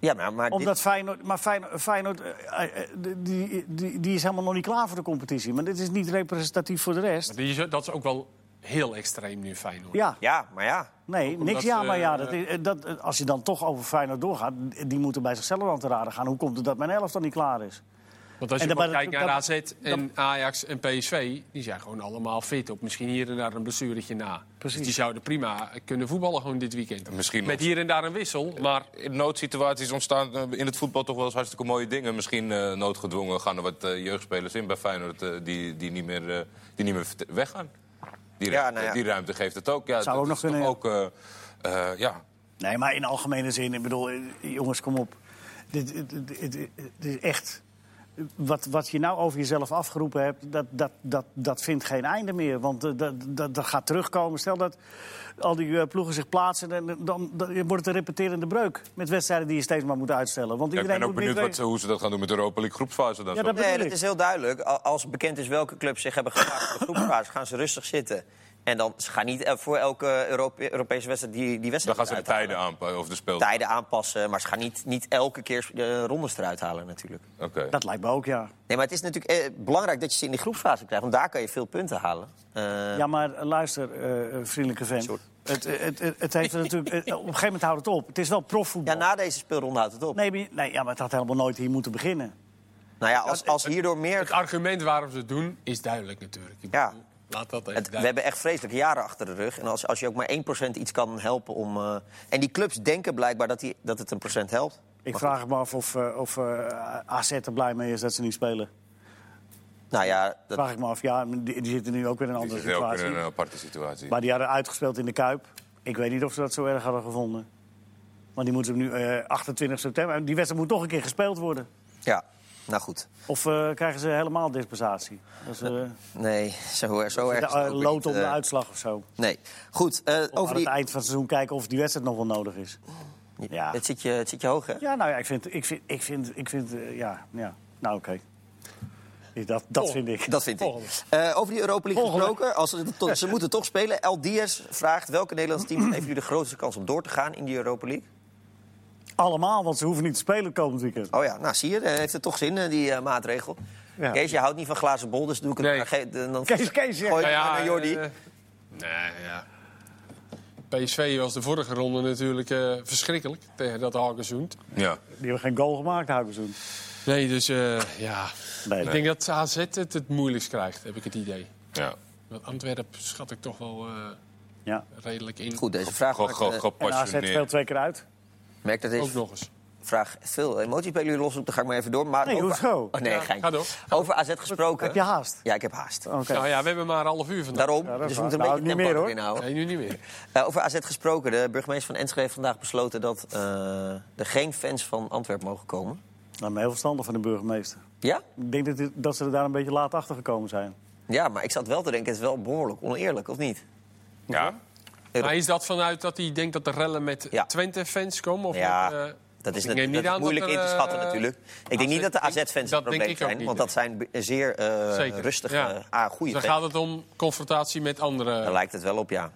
S1: Ja, maar, maar dit-
S2: Omdat Feyenoord, maar Feyenoord, Feyenoord, eh, eh, eh, die, die, die is helemaal nog niet klaar voor de competitie. Maar dit is niet representatief voor de rest.
S4: Die is- Dat is ook wel heel extreem nu, Feyenoord.
S2: Ja,
S1: Ja, maar ja.
S2: nee,
S4: omdat,
S2: niks ja, maar ja.
S4: eh,
S2: Dat, is- eh, dat, eh, als je dan toch over Feyenoord doorgaat, die moeten bij zichzelf aan te raden gaan. Hoe komt het dat mijn elf dan niet klaar is?
S4: Want als
S2: En
S4: je
S2: dan-
S4: maar kijkt
S2: dan-
S4: naar
S2: dan-
S4: AZ en Ajax en PSV, die zijn gewoon allemaal fit op. Misschien hier en daar een blessuretje na. Dus die zouden prima kunnen voetballen gewoon dit weekend.
S3: Misschien
S4: Met
S3: nog.
S4: hier en daar een wissel, maar...
S3: In noodsituaties ontstaan eh, in het voetbal toch wel eens hartstikke mooie dingen. Misschien eh, noodgedwongen gaan er wat eh, jeugdspelers in bij Feyenoord eh, die, die, niet meer, eh, die niet meer vert- weggaan. Die,
S1: Ja,
S3: ruimte,
S1: nou ja.
S3: die ruimte geeft het ook. Ja,
S2: Zou
S3: dat
S2: ook nog
S3: is toch
S2: kunnen,
S3: ook, eh, eh, ja.
S2: Nee, maar in algemene zin, ik bedoel, eh, jongens, kom op. Dit, dit, dit- dit- dit is echt. Wat, wat je nou over jezelf afgeroepen hebt, dat, dat, dat, dat vindt geen einde meer. Want eh, dat, dat, dat gaat terugkomen. Stel dat al die eh, ploegen zich plaatsen, dan, dan, dan wordt het een repeterende breuk. Met wedstrijden die je steeds maar moet uitstellen. Want
S3: Ja, ik
S2: iedereen
S3: ben ook
S2: moet
S3: benieuwd
S2: weer-
S3: wat, ze- hoe ze dat gaan doen met de Europa League groepsfase. Dan
S2: Ja,
S3: zo.
S2: dat
S1: Nee,
S2: bedoel
S1: dat
S2: ik.
S1: is heel duidelijk. A- Als bekend is welke clubs zich hebben geplaatst voor de groepsfase, gaan ze rustig zitten. En dan ze gaan niet eh, voor elke Europe- Europese wedstrijd die, die
S3: Dan
S1: wedstrijd
S3: gaan ze de
S1: eruit halen.
S3: tijden aanpakken of de speel.
S1: Tijden aanpassen, maar ze gaan niet, niet elke keer de rondes eruit halen natuurlijk.
S3: Oké.
S2: Dat lijkt me ook, ja.
S1: Nee, maar het is natuurlijk eh, belangrijk dat je ze in die groepsfase krijgt, want daar kan je veel punten halen. Eh,
S2: Ja, maar eh, luister, eh, eh, vriendelijke vent.
S1: Sorry.
S2: Het, eh, het, het, het heeft er natuurlijk, eh, op een
S3: nou-
S2: gegeven moment houdt het op. Het is wel profvoetbal.
S1: ja, na deze speelronde houdt het op.
S2: Nee, maar, nee ja, maar het had helemaal nooit hier moeten beginnen.
S1: Nou ja, als, als hierdoor meer...
S4: Het argument waarom ze het doen is duidelijk natuurlijk. Ik
S1: Ja.
S4: bedoel, Laat dat even
S1: Het- we
S4: duidelijk.
S1: hebben echt vreselijke jaren achter de rug. En als, als je ook maar 1% iets kan helpen om... eh, en die clubs denken blijkbaar dat, die, dat het een procent helpt.
S2: Ik vraag me af of, eh, of eh, AZ er blij mee is dat ze niet spelen.
S1: Nou ja, dat,
S2: Vraag ik me af. Ja, die, die zitten nu ook weer in eh, een
S3: Die
S2: andere
S3: zitten ook
S2: situatie.
S3: in een aparte situatie.
S2: Maar die hadden uitgespeeld in de Kuip. Ik weet niet of ze dat zo erg hadden gevonden. Want die moeten nu eh, 28 september... Die wedstrijd moet nog een keer gespeeld worden.
S1: ja, nou goed.
S2: Of eh, krijgen ze helemaal dispensatie? Dat is, eh,
S1: Nee, zo, zo erg is
S2: eh,
S1: het ook weer
S2: lood
S1: niet,
S2: om de
S1: eh,
S2: uitslag of zo.
S1: Nee, goed. eh,
S2: Of
S1: over
S2: aan
S1: die...
S2: het eind van het seizoen kijken of die wedstrijd nog wel nodig is. Ja,
S1: Het, zit je, het zit je hoog, hè?
S2: ja nou ja, ik vind... Ik vind, ik vind, ik vind eh, ja, ja, nou oké. Dat, dat
S4: Oh,
S2: vind ik.
S1: Dat vind ik.
S4: Volgende.
S1: Eh, over die Europa League gesproken. Als ze, to- ze moeten toch spelen. El Diaz vraagt welke Nederlandse team heeft nu de grootste kans om door te gaan in die Europa League?
S2: Allemaal, want ze hoeven niet te spelen komend weekend.
S1: Oh ja, nou zie je, eh, heeft het toch zin, eh, die eh, maatregel.
S2: Ja.
S1: Kees, je houdt niet van glazen bol, dus doe ik het
S4: Nee.
S1: maar. Ge- eh, dan
S2: Kees, Kees, ja.
S1: gooi je
S4: Nou
S1: het maar naar Jordi.
S4: eh, nee, ja. PSV was de vorige ronde natuurlijk eh, verschrikkelijk tegen dat Hagenzoend.
S3: Ja.
S2: Die hebben geen goal gemaakt, Houkenzoen.
S4: Nee, dus eh, ja.
S2: Nee,
S4: Ik denk dat AZ het het moeilijkst krijgt, heb ik het idee.
S3: ja.
S4: Want Antwerpen schat ik toch wel eh,
S2: Ja.
S4: redelijk in.
S1: Goed, deze vraag
S3: Gewoon
S1: maakt,
S3: gewoon
S1: eh,
S2: En AZ speelt
S3: gepassioneerd.
S2: twee keer uit.
S1: merk dat
S4: Ook
S1: deze
S4: nog eens.
S1: vraag veel emoties bij jullie losroept. Dan ga ik maar even door. Maar
S2: Nee,
S1: over...
S2: hoezo?
S1: Oh, nee,
S4: Ja,
S1: geintje.
S4: ga door.
S1: Over AZ gesproken.
S2: Heb Oh. je haast?
S1: Ja, ik heb haast.
S2: Oké.
S4: Nou ja, we hebben maar een half uur vandaag.
S1: Daarom,
S2: dat
S1: dus
S2: is
S1: we moeten een
S2: waar.
S1: beetje
S2: Nou, niet
S1: tempo
S2: meer, hoor.
S1: erin houden.
S4: Nee, nu niet meer.
S1: Eh, over AZ gesproken. De burgemeester van Enschede heeft vandaag besloten dat eh, er geen fans van Antwerpen mogen komen.
S2: Nou, maar heel verstandig van de burgemeester.
S1: Ja?
S2: Ik denk dat, dit- dat ze er daar een beetje laat achter gekomen zijn.
S1: Ja, maar ik zat wel te denken, het is wel behoorlijk oneerlijk, of niet?
S3: Ja.
S4: Maar is dat vanuit dat hij denkt dat de rellen met
S1: Ja.
S4: Twente-fans komen? Of
S1: Nou Ja,
S4: met, eh,
S1: dat is,
S4: ik neem
S1: natuurlijk
S4: niet aan dat
S1: moeilijk
S4: er,
S1: in te
S4: eh,
S1: schatten natuurlijk. Ik denk niet dat de AZ-fans het
S4: dat
S1: probleem
S4: denk ik ook
S1: zijn,
S4: niet,
S1: want dat zijn be- zeer eh,
S4: zeker.
S1: rustige,
S4: Ja.
S1: ah, goede
S4: Dus
S1: fans.
S4: dan gaat het om confrontatie met anderen.
S1: Daar lijkt het wel op, ja.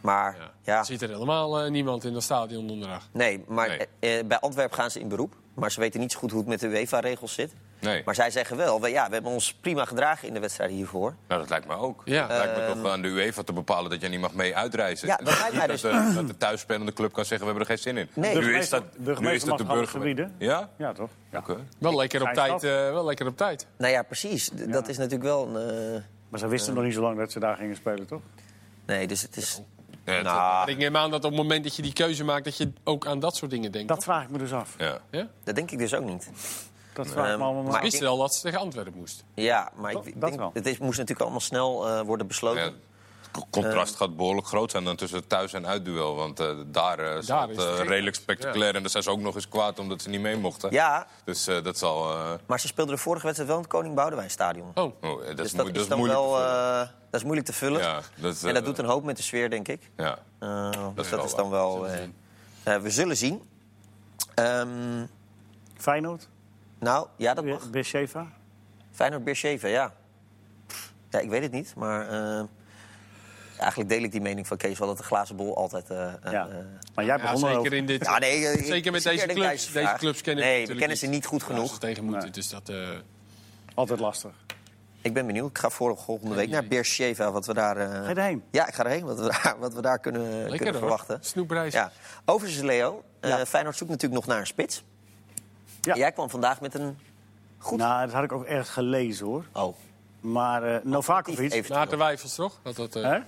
S1: Maar, ja.
S4: Ja. Er zit er helemaal eh, niemand in dat stadion donderdag.
S1: Nee, maar
S3: Nee.
S1: eh, eh, bij Antwerpen gaan ze in beroep. Maar ze weten niet zo goed hoe het met de UEFA-regels zit.
S3: Nee.
S1: Maar zij zeggen wel, we, ja, we hebben ons prima gedragen in de wedstrijd hiervoor.
S3: Nou, dat lijkt me ook.
S4: Ja.
S3: Het lijkt me toch aan de UEFA te bepalen dat jij niet mag mee uitreizen.
S1: Ehm, Ja, dat lijkt mij
S3: dat,
S1: dus.
S3: de, dat de thuisspelende club kan zeggen, we hebben er geen zin in.
S1: Nee.
S3: Nu is
S2: Burgemeester-
S3: dat, nu is
S2: burgemeester
S3: dat de
S2: mag alles
S3: burger.
S2: verbieden.
S3: Ja?
S2: Ja, toch?
S3: Oké.
S4: Wel lekker op
S2: Zijn
S4: tijd.
S2: stap.
S4: eh, wel lekker op tijd.
S1: Nou ja, precies. D- Dat is natuurlijk wel een... eh,
S2: Maar ze wisten nog niet zo lang dat ze daar gingen spelen, toch?
S1: Nee, dus het is...
S3: Ja, het-
S1: Nou,
S4: Maar ik neem aan dat op het moment dat je die keuze maakt, dat je ook aan dat soort dingen denkt.
S2: Dat vraag ik me dus af.
S3: ja.
S4: Ja?
S1: dat denk ik dus ook niet.
S2: Dat vraag ik me allemaal
S1: maar-
S2: af.
S1: ik
S4: Wist je al dat ze tegen Antwerpen moest?
S1: Ja, maar ik
S2: Dat-
S1: denk,
S2: dat wel.
S1: het is, moest natuurlijk allemaal snel eh, worden besloten.
S3: Ja, het c- contrast
S1: Eh.
S3: gaat behoorlijk groot zijn dan tussen het thuis- en uitduel. Want eh, daar, eh staat
S4: is
S3: eh,
S4: het geen-
S3: redelijk spectaculair. En daar zijn ze ook nog eens kwaad omdat ze niet mee mochten.
S1: Ja,
S3: Dus eh, dat zal... eh,
S1: maar ze speelden de vorige wedstrijd wel in het Koning Boudewijnstadion.
S4: Oh,
S3: oh, eh, dat,
S1: dus
S3: is,
S1: dat
S3: moe- dat
S1: is
S3: is
S1: dan
S3: moeilijk.
S1: wel
S3: te vullen.
S1: eh, dat is moeilijk te vullen.
S3: Ja, dat is,
S1: en dat
S3: eh,
S1: doet een hoop met de sfeer, denk ik.
S3: ja.
S1: Eh, dus
S3: wel
S1: dat is
S3: waar.
S1: dan wel.
S4: Zullen
S1: eh,
S4: zien.
S1: eh, we zullen zien. Ehm,
S2: Feyenoord,
S1: nou, ja, dat mag.
S2: Beersheva.
S1: Feyenoord Beersheva, ja. Pff, Ja, ik weet het niet, maar eh, eigenlijk deel ik die mening van Kees wel dat de glazen bol altijd. eh, eh,
S2: Ja.
S1: eh,
S2: Maar jij
S4: ja,
S2: begon erover.
S4: zeker in dit.
S1: ja, nee, eh, ik-
S4: Zeker met
S1: ik- ik-
S4: deze
S1: ik- ik-
S4: clubs.
S1: ik-
S4: Deze clubs kennen we
S1: Nee, we
S4: natuurlijk
S1: kennen ze niet goed
S4: waar ze
S1: genoeg.
S4: tegen moeten.
S2: Nee.
S4: Dus dat, eh,
S2: Altijd lastig.
S1: Ik ben benieuwd. Ik ga voor volgende week naar Beersheva, wat we daar... eh,
S2: Ga je erheen?
S1: Ja, ik ga erheen, wat we daar, wat we daar kunnen,
S4: lekker
S1: kunnen
S4: hoor.
S1: verwachten.
S4: Snoepreis.
S1: Ja. Overigens, Leo, eh,
S2: Ja.
S1: Feyenoord zoekt natuurlijk nog naar een spits.
S2: Ja.
S1: Jij kwam vandaag met een... Goed.
S2: Nou, dat had ik ook ergens gelezen, hoor.
S1: Oh,
S2: Maar eh Novakovic...
S1: even
S4: Maarten Wijfels, toch? Dat, dat, eh,
S2: Hè?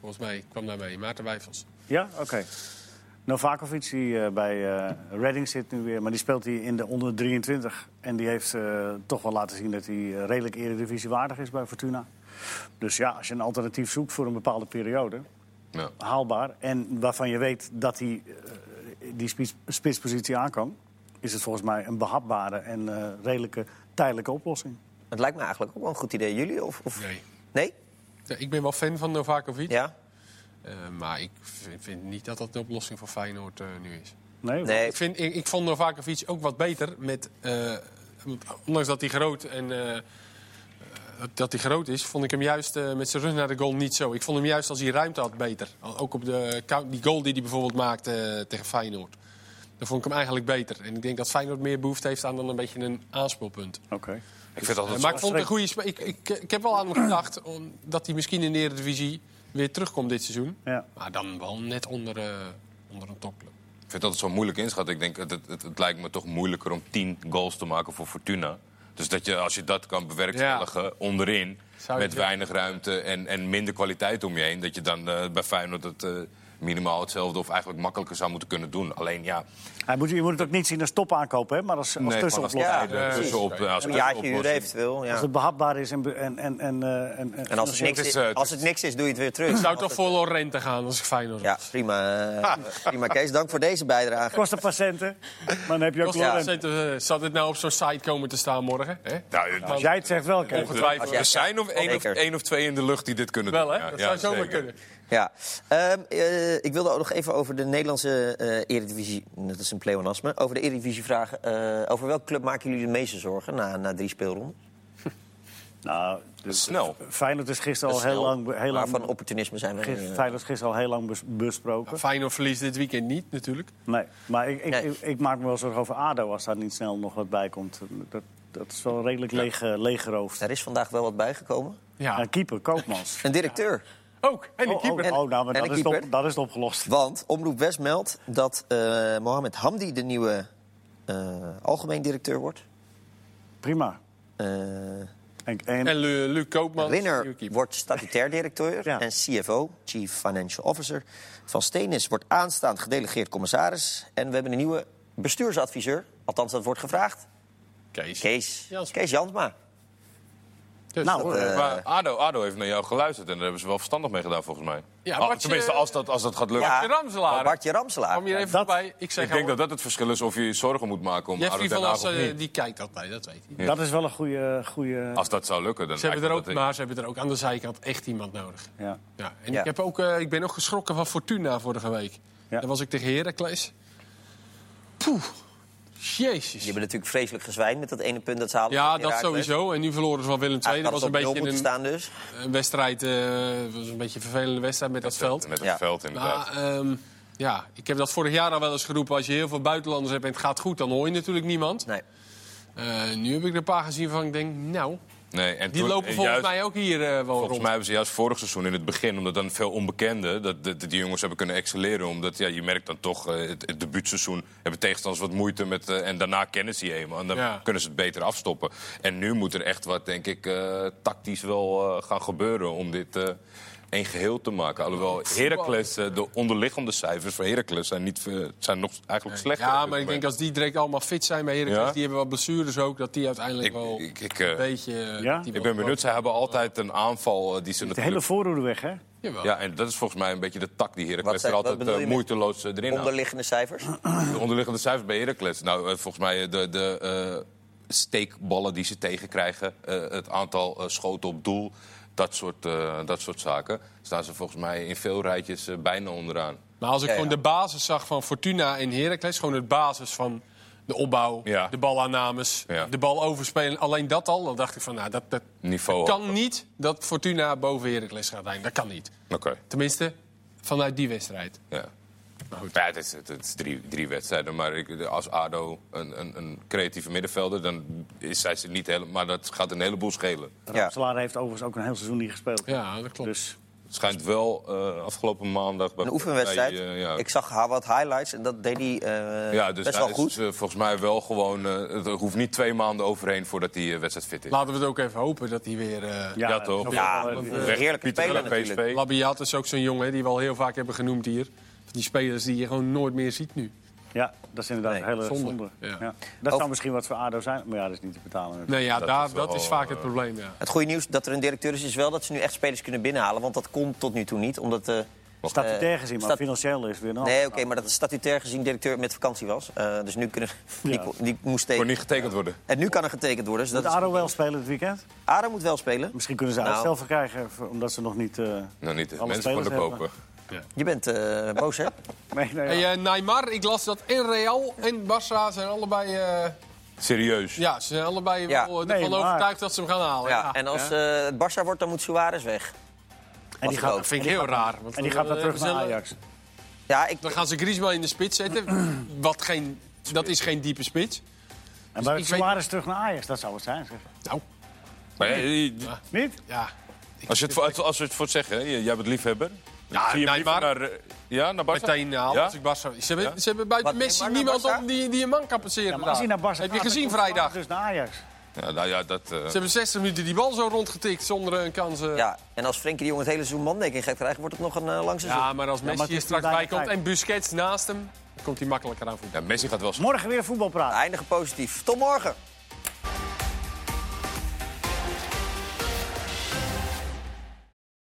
S4: volgens mij kwam daarmee. Maarten Wijfels.
S2: Ja, oké. Novakovic, die eh, bij eh, Reading zit nu weer, maar die speelt hij in de onder 23. En die heeft eh, toch wel laten zien dat hij eh, redelijk eredivisie waardig is bij Fortuna. Dus ja, als je een alternatief zoekt voor een bepaalde periode,
S3: Ja.
S2: haalbaar. En waarvan je weet dat hij eh, die spits- spitspositie aan kan, is het volgens mij een behapbare en eh, redelijke tijdelijke oplossing.
S1: Het lijkt me eigenlijk ook wel een goed idee. Jullie? Of, of...
S4: Nee.
S1: Nee?
S4: Ja, ik ben wel fan van Novakovic.
S1: Ja?
S4: eh, maar ik vind, vind niet dat dat de oplossing voor Feyenoord eh, nu is.
S2: Nee?
S1: Nee.
S4: Ik, vind, ik, ik vond Novakovic ook wat beter. Met, eh, want ondanks dat hij groot en eh, eh, dat hij groot is, vond ik hem juist eh, met zijn run naar de goal niet zo. Ik vond hem juist als hij ruimte had beter. Al- Ook op de, count- die goal die hij bijvoorbeeld maakte eh, tegen Feyenoord. Dan vond ik hem eigenlijk beter. En ik denk dat Feyenoord meer behoefte heeft aan dan een beetje een aanspeelpunt.
S2: Oké.
S3: Ik vind
S4: Eh,
S3: altijd
S4: maar ik vond het een goede spe- ik, ik, ik heb wel aan hem gedacht om- dat hij misschien in de Eredivisie weer terugkomt dit seizoen.
S2: Ja.
S4: Maar dan wel net onder, eh, onder een topclub.
S3: Ik vind dat het zo moeilijk inschat. Ik denk, het, het, het, het lijkt me toch moeilijker om 10 goals te maken voor Fortuna. Dus dat je, als je dat kan bewerkstelligen onderin,
S4: Zou je
S3: met
S4: dat-
S3: weinig ruimte en, en minder kwaliteit om je heen... dat je dan eh, bij Feyenoord het eh, minimaal hetzelfde of eigenlijk makkelijker zou moeten kunnen doen. Alleen ja,
S2: Hij moet, je moet het ook niet zien als topaankoop, hè, maar als, als
S3: nee, gewoon als
S2: tussenoplossing.
S1: Ja,
S3: tijden,
S1: precies.
S3: tussenop- ja, als
S1: Een jaartje huren
S3: tussenoplossing.
S1: eventueel. Ja.
S2: Als het behapbaar is en... be- en, en, en, eh, en, en,
S1: En als het, niks
S3: Het
S1: is,
S3: is, eh, het
S1: als
S3: is-
S1: het niks is, doe je het weer terug.
S4: Ik zou
S1: Als
S4: toch
S1: het-
S4: voor Lorente gaan als ik Feyenoord
S1: Ja, prima, eh, prima Kees. Dank voor deze bijdrage.
S2: Kost een patiënten, maar dan heb je ook
S4: was.
S2: Lorent.
S4: Zou dit nou op zo'n site komen te staan morgen? Hè?
S3: Nou, het-
S2: Als jij het zegt wel, Kees.
S4: Ongetwijfeld.
S1: Als jij-
S3: Er zijn of één, of
S1: Zeker.
S3: één of twee in de lucht die dit kunnen
S4: Wel,
S3: doen.
S4: hè? Dat zou zomaar
S3: zeker.
S4: kunnen.
S1: Ja. Ehm, eh, ik wilde ook nog even over de Nederlandse eh, Eredivisie... Dat is een pleonasme. Over de Eredivisie vragen. eh, over welke club maken jullie de meeste zorgen na, na drie speelronden?
S2: Nou,
S3: Dat is snel.
S2: Feyenoord is gisteren al
S1: Dat is
S2: heel
S1: snel.
S2: lang, be- heel
S1: Maar
S2: lang,
S1: van opportunisme zijn we...
S2: gis-
S1: eh,
S2: Feyenoord is gisteren al heel lang bes- besproken.
S4: Feyenoord verliest dit weekend niet, natuurlijk.
S2: Nee, maar ik, ik,
S1: Nee.
S2: Ik, ik maak me wel zorgen over ADO als daar niet snel nog wat bij komt. Dat, dat is wel redelijk leeg, eh, leeggeroofd.
S1: er is vandaag wel wat bijgekomen.
S4: Ja.
S2: En keeper, Koopmans.
S1: Een directeur.
S4: Ook. En de
S2: Oh,
S4: keeper.
S2: Oh, oh, nou, maar
S1: en een
S2: dat is, het op-
S1: keeper.
S2: dat is het opgelost.
S1: Want Omroep West meldt dat eh, Mohamed Hamdi de nieuwe eh, algemeen directeur wordt.
S2: Prima.
S1: Eh,
S2: En, en,
S4: En Lu- Luc Koopman.
S1: Rinner wordt statutair directeur
S2: Ja.
S1: en CFO, Chief Financial Officer. Van Steenis wordt aanstaand gedelegeerd commissaris. En we hebben een nieuwe bestuursadviseur. Althans, dat wordt gevraagd.
S4: Kees.
S1: Kees,
S4: Jansma.
S1: Kees Jansma.
S4: Dus
S2: Nou,
S4: dat,
S2: eh,
S4: eh,
S3: Maar ADO, ADO heeft naar jou geluisterd en daar hebben ze wel verstandig mee gedaan, volgens mij.
S4: Ja,
S3: Al-
S4: Bartje-
S3: tenminste, als dat, als dat gaat lukken.
S4: Bartje Ramselaar.
S1: maar Oh, Bartje Ramselaar.
S4: kwam hier even
S2: dat-
S4: voorbij. Ik zeg
S3: Ik denk dat dat het verschil is of je je zorgen moet maken om ADO
S4: Jeffrey van
S3: Den Haag of
S4: Assen, eh,
S3: niet.
S4: die kijkt altijd, dat weet hij.
S1: eh,
S2: dat is wel een goede... goede
S1: Ah.
S3: Als dat zou lukken, dan
S4: Ze hebben er
S3: lijkt
S4: ook,
S3: me dat-
S4: maar ze hebben er ook aan de zijkant echt iemand nodig.
S2: ja.
S4: Ja, en
S1: Ja.
S4: Ik, heb ook, eh, ik ben ook geschrokken van Fortuna vorige week.
S2: Ja.
S4: Daar was ik tegen Heracles. Poeh, jezus.
S1: Die hebben natuurlijk vreselijk gezwijnd met dat ene punt dat dus. ze halen.
S4: Ja,
S1: tegen
S4: dat
S1: Heracles.
S4: sowieso. En nu verloren ze van Willem II. Dat
S1: Eigenlijk
S4: was
S1: hadden
S4: een
S1: ze op nul
S4: beetje
S1: moeten
S4: een,
S1: staan dus.
S4: een wedstrijd. eh, was een beetje een vervelende wedstrijd met dat veld.
S3: Met het
S1: Ja.
S3: veld, inderdaad.
S4: Maar ehm, ja, ik heb dat vorig jaar al wel eens geroepen. Als je heel veel buitenlanders hebt en het gaat goed, dan hoor je natuurlijk niemand.
S1: Nee.
S4: Eh, nu heb ik er een paar gezien van ik denk, nou,
S3: nee, en
S4: die
S3: toen-
S4: lopen
S3: en
S4: volgens
S3: juist-
S4: mij ook hier eh, wel
S3: Volgens
S4: rond.
S3: mij hebben ze juist vorig seizoen in het begin, omdat dan veel onbekenden, dat, dat- dat die jongens hebben kunnen excelleren. Omdat ja, je merkt dan toch, eh, het, het debuutseizoen hebben tegenstanders wat moeite met. eh, en daarna kennen ze je eenmaal. En dan
S4: Ja.
S3: kunnen ze het beter afstoppen. En nu moet er echt wat, denk ik, eh, tactisch wel eh, gaan gebeuren om dit. eh een geheel te maken. Alhoewel Heracles, eh, de onderliggende cijfers voor Heracles zijn, niet, eh, zijn nog eigenlijk slechter.
S4: Ja, maar ik denk als die direct allemaal fit zijn bij Heracles,
S3: Ja?
S4: die hebben wat blessures ook, dat die uiteindelijk
S3: Ik-
S4: wel
S3: ik- ik,
S4: een
S3: eh,
S4: beetje...
S2: Ja?
S4: die
S3: Ik
S4: wel-
S3: ben benieuwd. Zij hebben altijd een aanval eh, die ze
S2: De hele
S3: natuurlijk...
S2: voorhoede weg, hè?
S4: Jawel.
S3: Ja, en dat is volgens mij een beetje de tak die
S1: Wat
S3: Heracles
S1: zei-
S3: er
S1: wat
S3: altijd
S1: bedoel je
S3: eh,
S1: met-
S3: moeiteloos eh, erin haalt.
S1: Onderliggende cijfers.
S3: De onderliggende cijfers bij Heracles. Nou, eh, volgens mij eh, de, de eh, steekballen die ze tegenkrijgen, eh, het aantal eh, schoten op doel, dat soort, eh, dat soort zaken, staan ze volgens mij in veel rijtjes eh, bijna onderaan.
S4: Maar als ik
S1: Ja,
S4: gewoon
S1: ja.
S4: de basis zag van Fortuna en Heracles, gewoon het basis van de opbouw,
S3: Ja.
S4: de balaannames,
S3: Ja.
S4: de bal overspelen, alleen dat al, dan dacht ik van, nou, dat, dat
S3: Niveau.
S4: kan niet dat Fortuna boven Heracles gaat zijn. Dat kan niet.
S3: Oké.
S4: Tenminste, vanuit die wedstrijd.
S3: Ja. Ja, het is, het is drie, drie wedstrijden, maar ik, als ADO een, een, een creatieve middenvelder, dan is zij ze niet helemaal... Maar dat gaat een heleboel schelen.
S2: Ramselaar heeft overigens ook een heel seizoen niet gespeeld.
S4: Ja, dat klopt.
S2: Dus
S3: Het schijnt wel eh, afgelopen maandag... Bij,
S1: Een oefenwedstrijd.
S3: bij, eh, ja,
S1: Ik zag ha- wat highlights en dat deed hij eh,
S3: Ja, dus
S1: best
S3: hij
S1: wel
S3: is
S1: goed.
S3: eh, volgens mij wel gewoon. eh, het hoeft niet twee maanden overheen voordat die eh, wedstrijd fit is.
S4: Laten we het ook even hopen dat hij weer... eh
S2: ja,
S3: Ja, toch?
S2: nog
S1: Ja,
S2: wel, eh,
S1: want,
S2: die-
S1: eh, een heerlijke
S3: Pieter
S1: speler
S3: Bella,
S1: natuurlijk.
S3: PSV.
S4: Labiat is ook zo'n jongen hè, die we al heel vaak hebben genoemd hier. Van Die spelers die je gewoon nooit meer ziet nu.
S2: ja, dat is inderdaad
S1: Nee,
S2: een hele zonde.
S4: zonde.
S2: Ja.
S4: Ja.
S2: Dat
S1: Over-
S2: zou misschien wat voor ADO zijn, maar ja, dat is niet te betalen. natuurlijk.
S4: Nee, ja,
S3: Dat
S4: daar,
S3: is wel,
S4: dat is vaak
S3: eh,
S4: het probleem. Ja.
S1: Het goede nieuws dat er een directeur is, is wel dat ze nu echt spelers kunnen binnenhalen. Want dat kon tot nu toe niet, omdat... eh,
S2: Statutair gezien, maar
S1: stat-
S2: financieel is weer een
S1: Nee,
S2: ander.
S1: oké, maar dat de statutair gezien directeur met vakantie was. Eh, dus nu kunnen... Die,
S2: Ja.
S1: kon- die moest
S3: Kon
S1: tegen.
S3: niet getekend worden.
S1: En nu kan er getekend worden. Dus
S2: Moet
S1: dat is...
S2: ADO wel spelen dit weekend?
S1: Aro moet wel spelen.
S2: Misschien kunnen ze
S1: Nou.
S2: uitstel voor krijgen, voor- omdat ze nog niet... eh,
S3: Nou, niet de
S2: Alle
S3: mensen
S2: spelers
S3: konden kopen.
S1: Je bent eh, boos, hè?
S2: nee, nee,
S4: En
S2: ja.
S4: eh, Neymar, ik las dat en Real en Barça zijn allebei, eh,
S3: Serieus.
S4: ja, ze zijn allebei
S1: Ja.
S4: wel eh,
S2: Nee,
S4: ervan
S2: maar-
S4: overtuigd dat ze hem gaan halen. Ja.
S1: Ja. En als eh, het Barça wordt, dan moet Suarez weg.
S2: En die gaat,
S1: ook.
S4: Dat vind ik heel raar. Want
S2: en die gaat dan
S4: dan, eh,
S2: terug naar
S4: zullen-
S2: Ajax.
S1: Ja, ik...
S4: Dan gaan ze Griezmann in de spits zetten. wat geen, dat is geen diepe spits.
S2: En bij
S4: ik weet-
S2: Suarez terug naar Ajax, dat zou het zijn. Zeg.
S4: Nou,
S3: Maar, eh,
S2: Niet?
S4: ja.
S3: als, je het, voor- als we het voor het zeggen, hè, jij bent liefhebber.
S4: Ja,
S3: Zie je hem
S4: Neymar.
S3: liever naar, eh, ja, naar Barca?
S4: Meteen halen
S3: Ja?
S4: als ik Barça... Ze hebben,
S3: Ja?
S4: ze hebben buiten
S1: Wat,
S4: Messi
S1: Neymar naar
S4: niemand
S1: Barça?
S4: om die, die een man kan passeren
S2: Ja, maar als hij
S4: daar.
S2: naar Barca
S4: Heb je
S2: gaat, dan
S4: gezien
S2: komt Suarez
S4: vrijdag?
S2: Dus naar Ajax.
S3: Ja, nou ja, dat... eh,
S4: Ze hebben 60 minuten die bal zo rondgetikt zonder een kans. eh.
S1: Ja, en als Frenkie de Jong het hele seizoen mandekking gaat krijgen... wordt het nog een eh, lang seizoen.
S4: Ja, maar als Messi
S2: maar het
S4: hier
S2: is
S4: straks
S2: bijna
S4: bij komt
S2: gelijk.
S4: en Busquets naast hem, komt hij makkelijker aan voetbal.
S3: ja, Messi gaat wel... scoren.
S2: Morgen weer voetbal praten.
S1: Eindigen positief. Tot morgen.